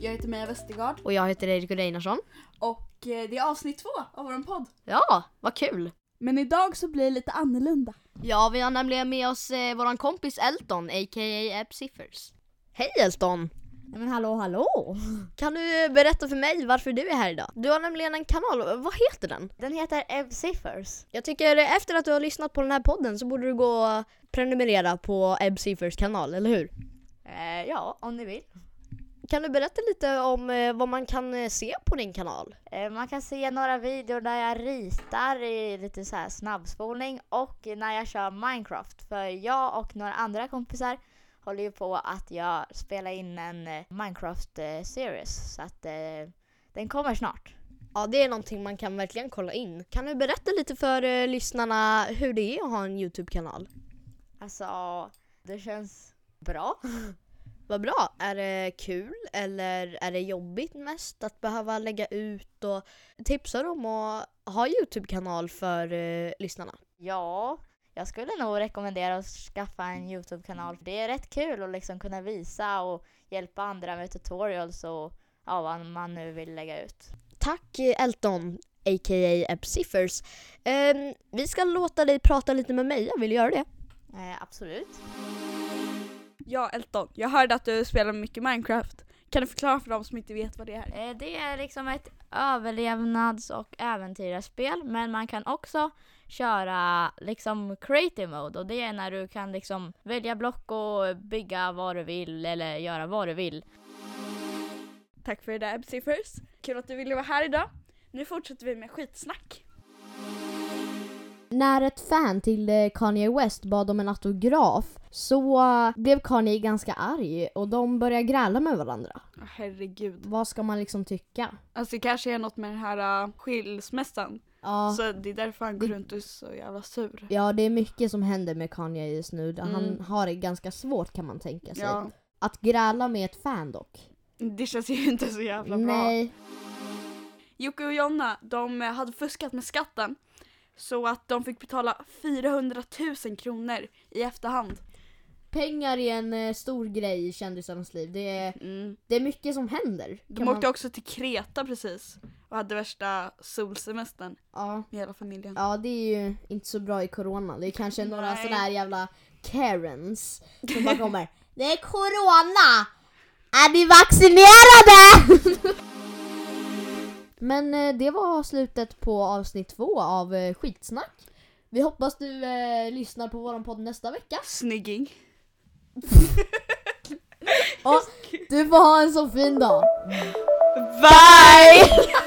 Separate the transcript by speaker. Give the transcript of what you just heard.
Speaker 1: Jag heter Mia Westergaard
Speaker 2: Och jag heter Erik Einarsson.
Speaker 1: och eh, det är avsnitt två av vår podd.
Speaker 2: Ja, vad kul!
Speaker 1: Men idag så blir det lite annorlunda.
Speaker 2: Ja, vi har nämligen med oss eh, våran kompis Elton, a.k.a. Ebb Siffers. Hej Elton!
Speaker 3: Men hallå hallå!
Speaker 2: Kan du eh, berätta för mig varför du är här idag? Du har nämligen en kanal, vad heter den?
Speaker 3: Den heter Ebb Siffers.
Speaker 2: Jag tycker eh, efter att du har lyssnat på den här podden så borde du gå och prenumerera på Ebb Siffers kanal, eller hur?
Speaker 3: Eh, ja, om ni vill.
Speaker 2: Kan du berätta lite om eh, vad man kan eh, se på din kanal?
Speaker 3: Eh, man kan se några videor där jag ritar i lite så här snabbspolning och när jag kör Minecraft. För jag och några andra kompisar håller ju på att jag spelar in en eh, Minecraft-series. Så att eh, den kommer snart.
Speaker 2: Ja, det är någonting man kan verkligen kolla in. Kan du berätta lite för eh, lyssnarna hur det är att ha en YouTube-kanal?
Speaker 3: Alltså, det känns bra.
Speaker 2: Vad bra. Är det kul eller är det jobbigt mest att behöva lägga ut och tipsa dem att ha Youtube-kanal för eh, lyssnarna?
Speaker 3: Ja, jag skulle nog rekommendera att skaffa en Youtube-kanal. Det är rätt kul att liksom kunna visa och hjälpa andra med tutorials och ja, vad man nu vill lägga ut.
Speaker 2: Tack eh, Elton, a.k.a. Ebb Siffers. Ehm, vi ska låta dig prata lite med mig, jag vill göra det.
Speaker 3: Eh, absolut.
Speaker 1: Ja, Elton, jag hörde att du spelar mycket Minecraft. Kan du förklara för dem som inte vet vad det är?
Speaker 3: Eh, det är liksom ett överlevnads och äventyrarspel men man kan också köra liksom creative mode och det är när du kan liksom välja block och bygga vad du vill eller göra vad du vill.
Speaker 1: Tack för det där, Ebsy First. Kul att du ville vara här idag. Nu fortsätter vi med skitsnack.
Speaker 4: När ett fan till eh, Kanye West bad om en autograf så eh, blev Kanye ganska arg och de började gräla med varandra.
Speaker 1: Åh, herregud.
Speaker 4: Vad ska man liksom tycka?
Speaker 1: Alltså det kanske är något med den här uh, skilsmässan.
Speaker 4: Ja,
Speaker 1: Så det är därför han går runt och är så jävla sur.
Speaker 4: ja, det är mycket som händer med Kanye just nu.
Speaker 1: Mm.
Speaker 4: Han har det ganska svårt kan man tänka sig.
Speaker 1: Ja,
Speaker 4: Att gräla med ett fan dock.
Speaker 1: det känns ju inte så jävla bra.
Speaker 4: Nej.
Speaker 1: Jocke och Jonna, de eh, hade fuskat med skatten. Så att de fick betala 400 000 kronor i efterhand.
Speaker 4: Pengar är en eh, stor grej i kändisarnas liv. Det är,
Speaker 1: Mm.
Speaker 4: det är mycket som händer.
Speaker 1: De
Speaker 4: kan man-
Speaker 1: åkte också till Kreta precis och hade värsta solsemestern
Speaker 4: ja.
Speaker 1: med hela familjen.
Speaker 4: Ja, det är ju inte så bra i corona. Det är kanske några
Speaker 1: Mm. Nej.
Speaker 4: sådana här jävla karens som bara kommer. Det är corona! Är ni vaccinerade? Men eh, det var slutet på avsnitt två av eh, Skitsnack. Vi hoppas du eh, lyssnar på våran podd nästa vecka.
Speaker 1: Snygging.
Speaker 4: Och du får ha en så fin dag.
Speaker 1: Bye!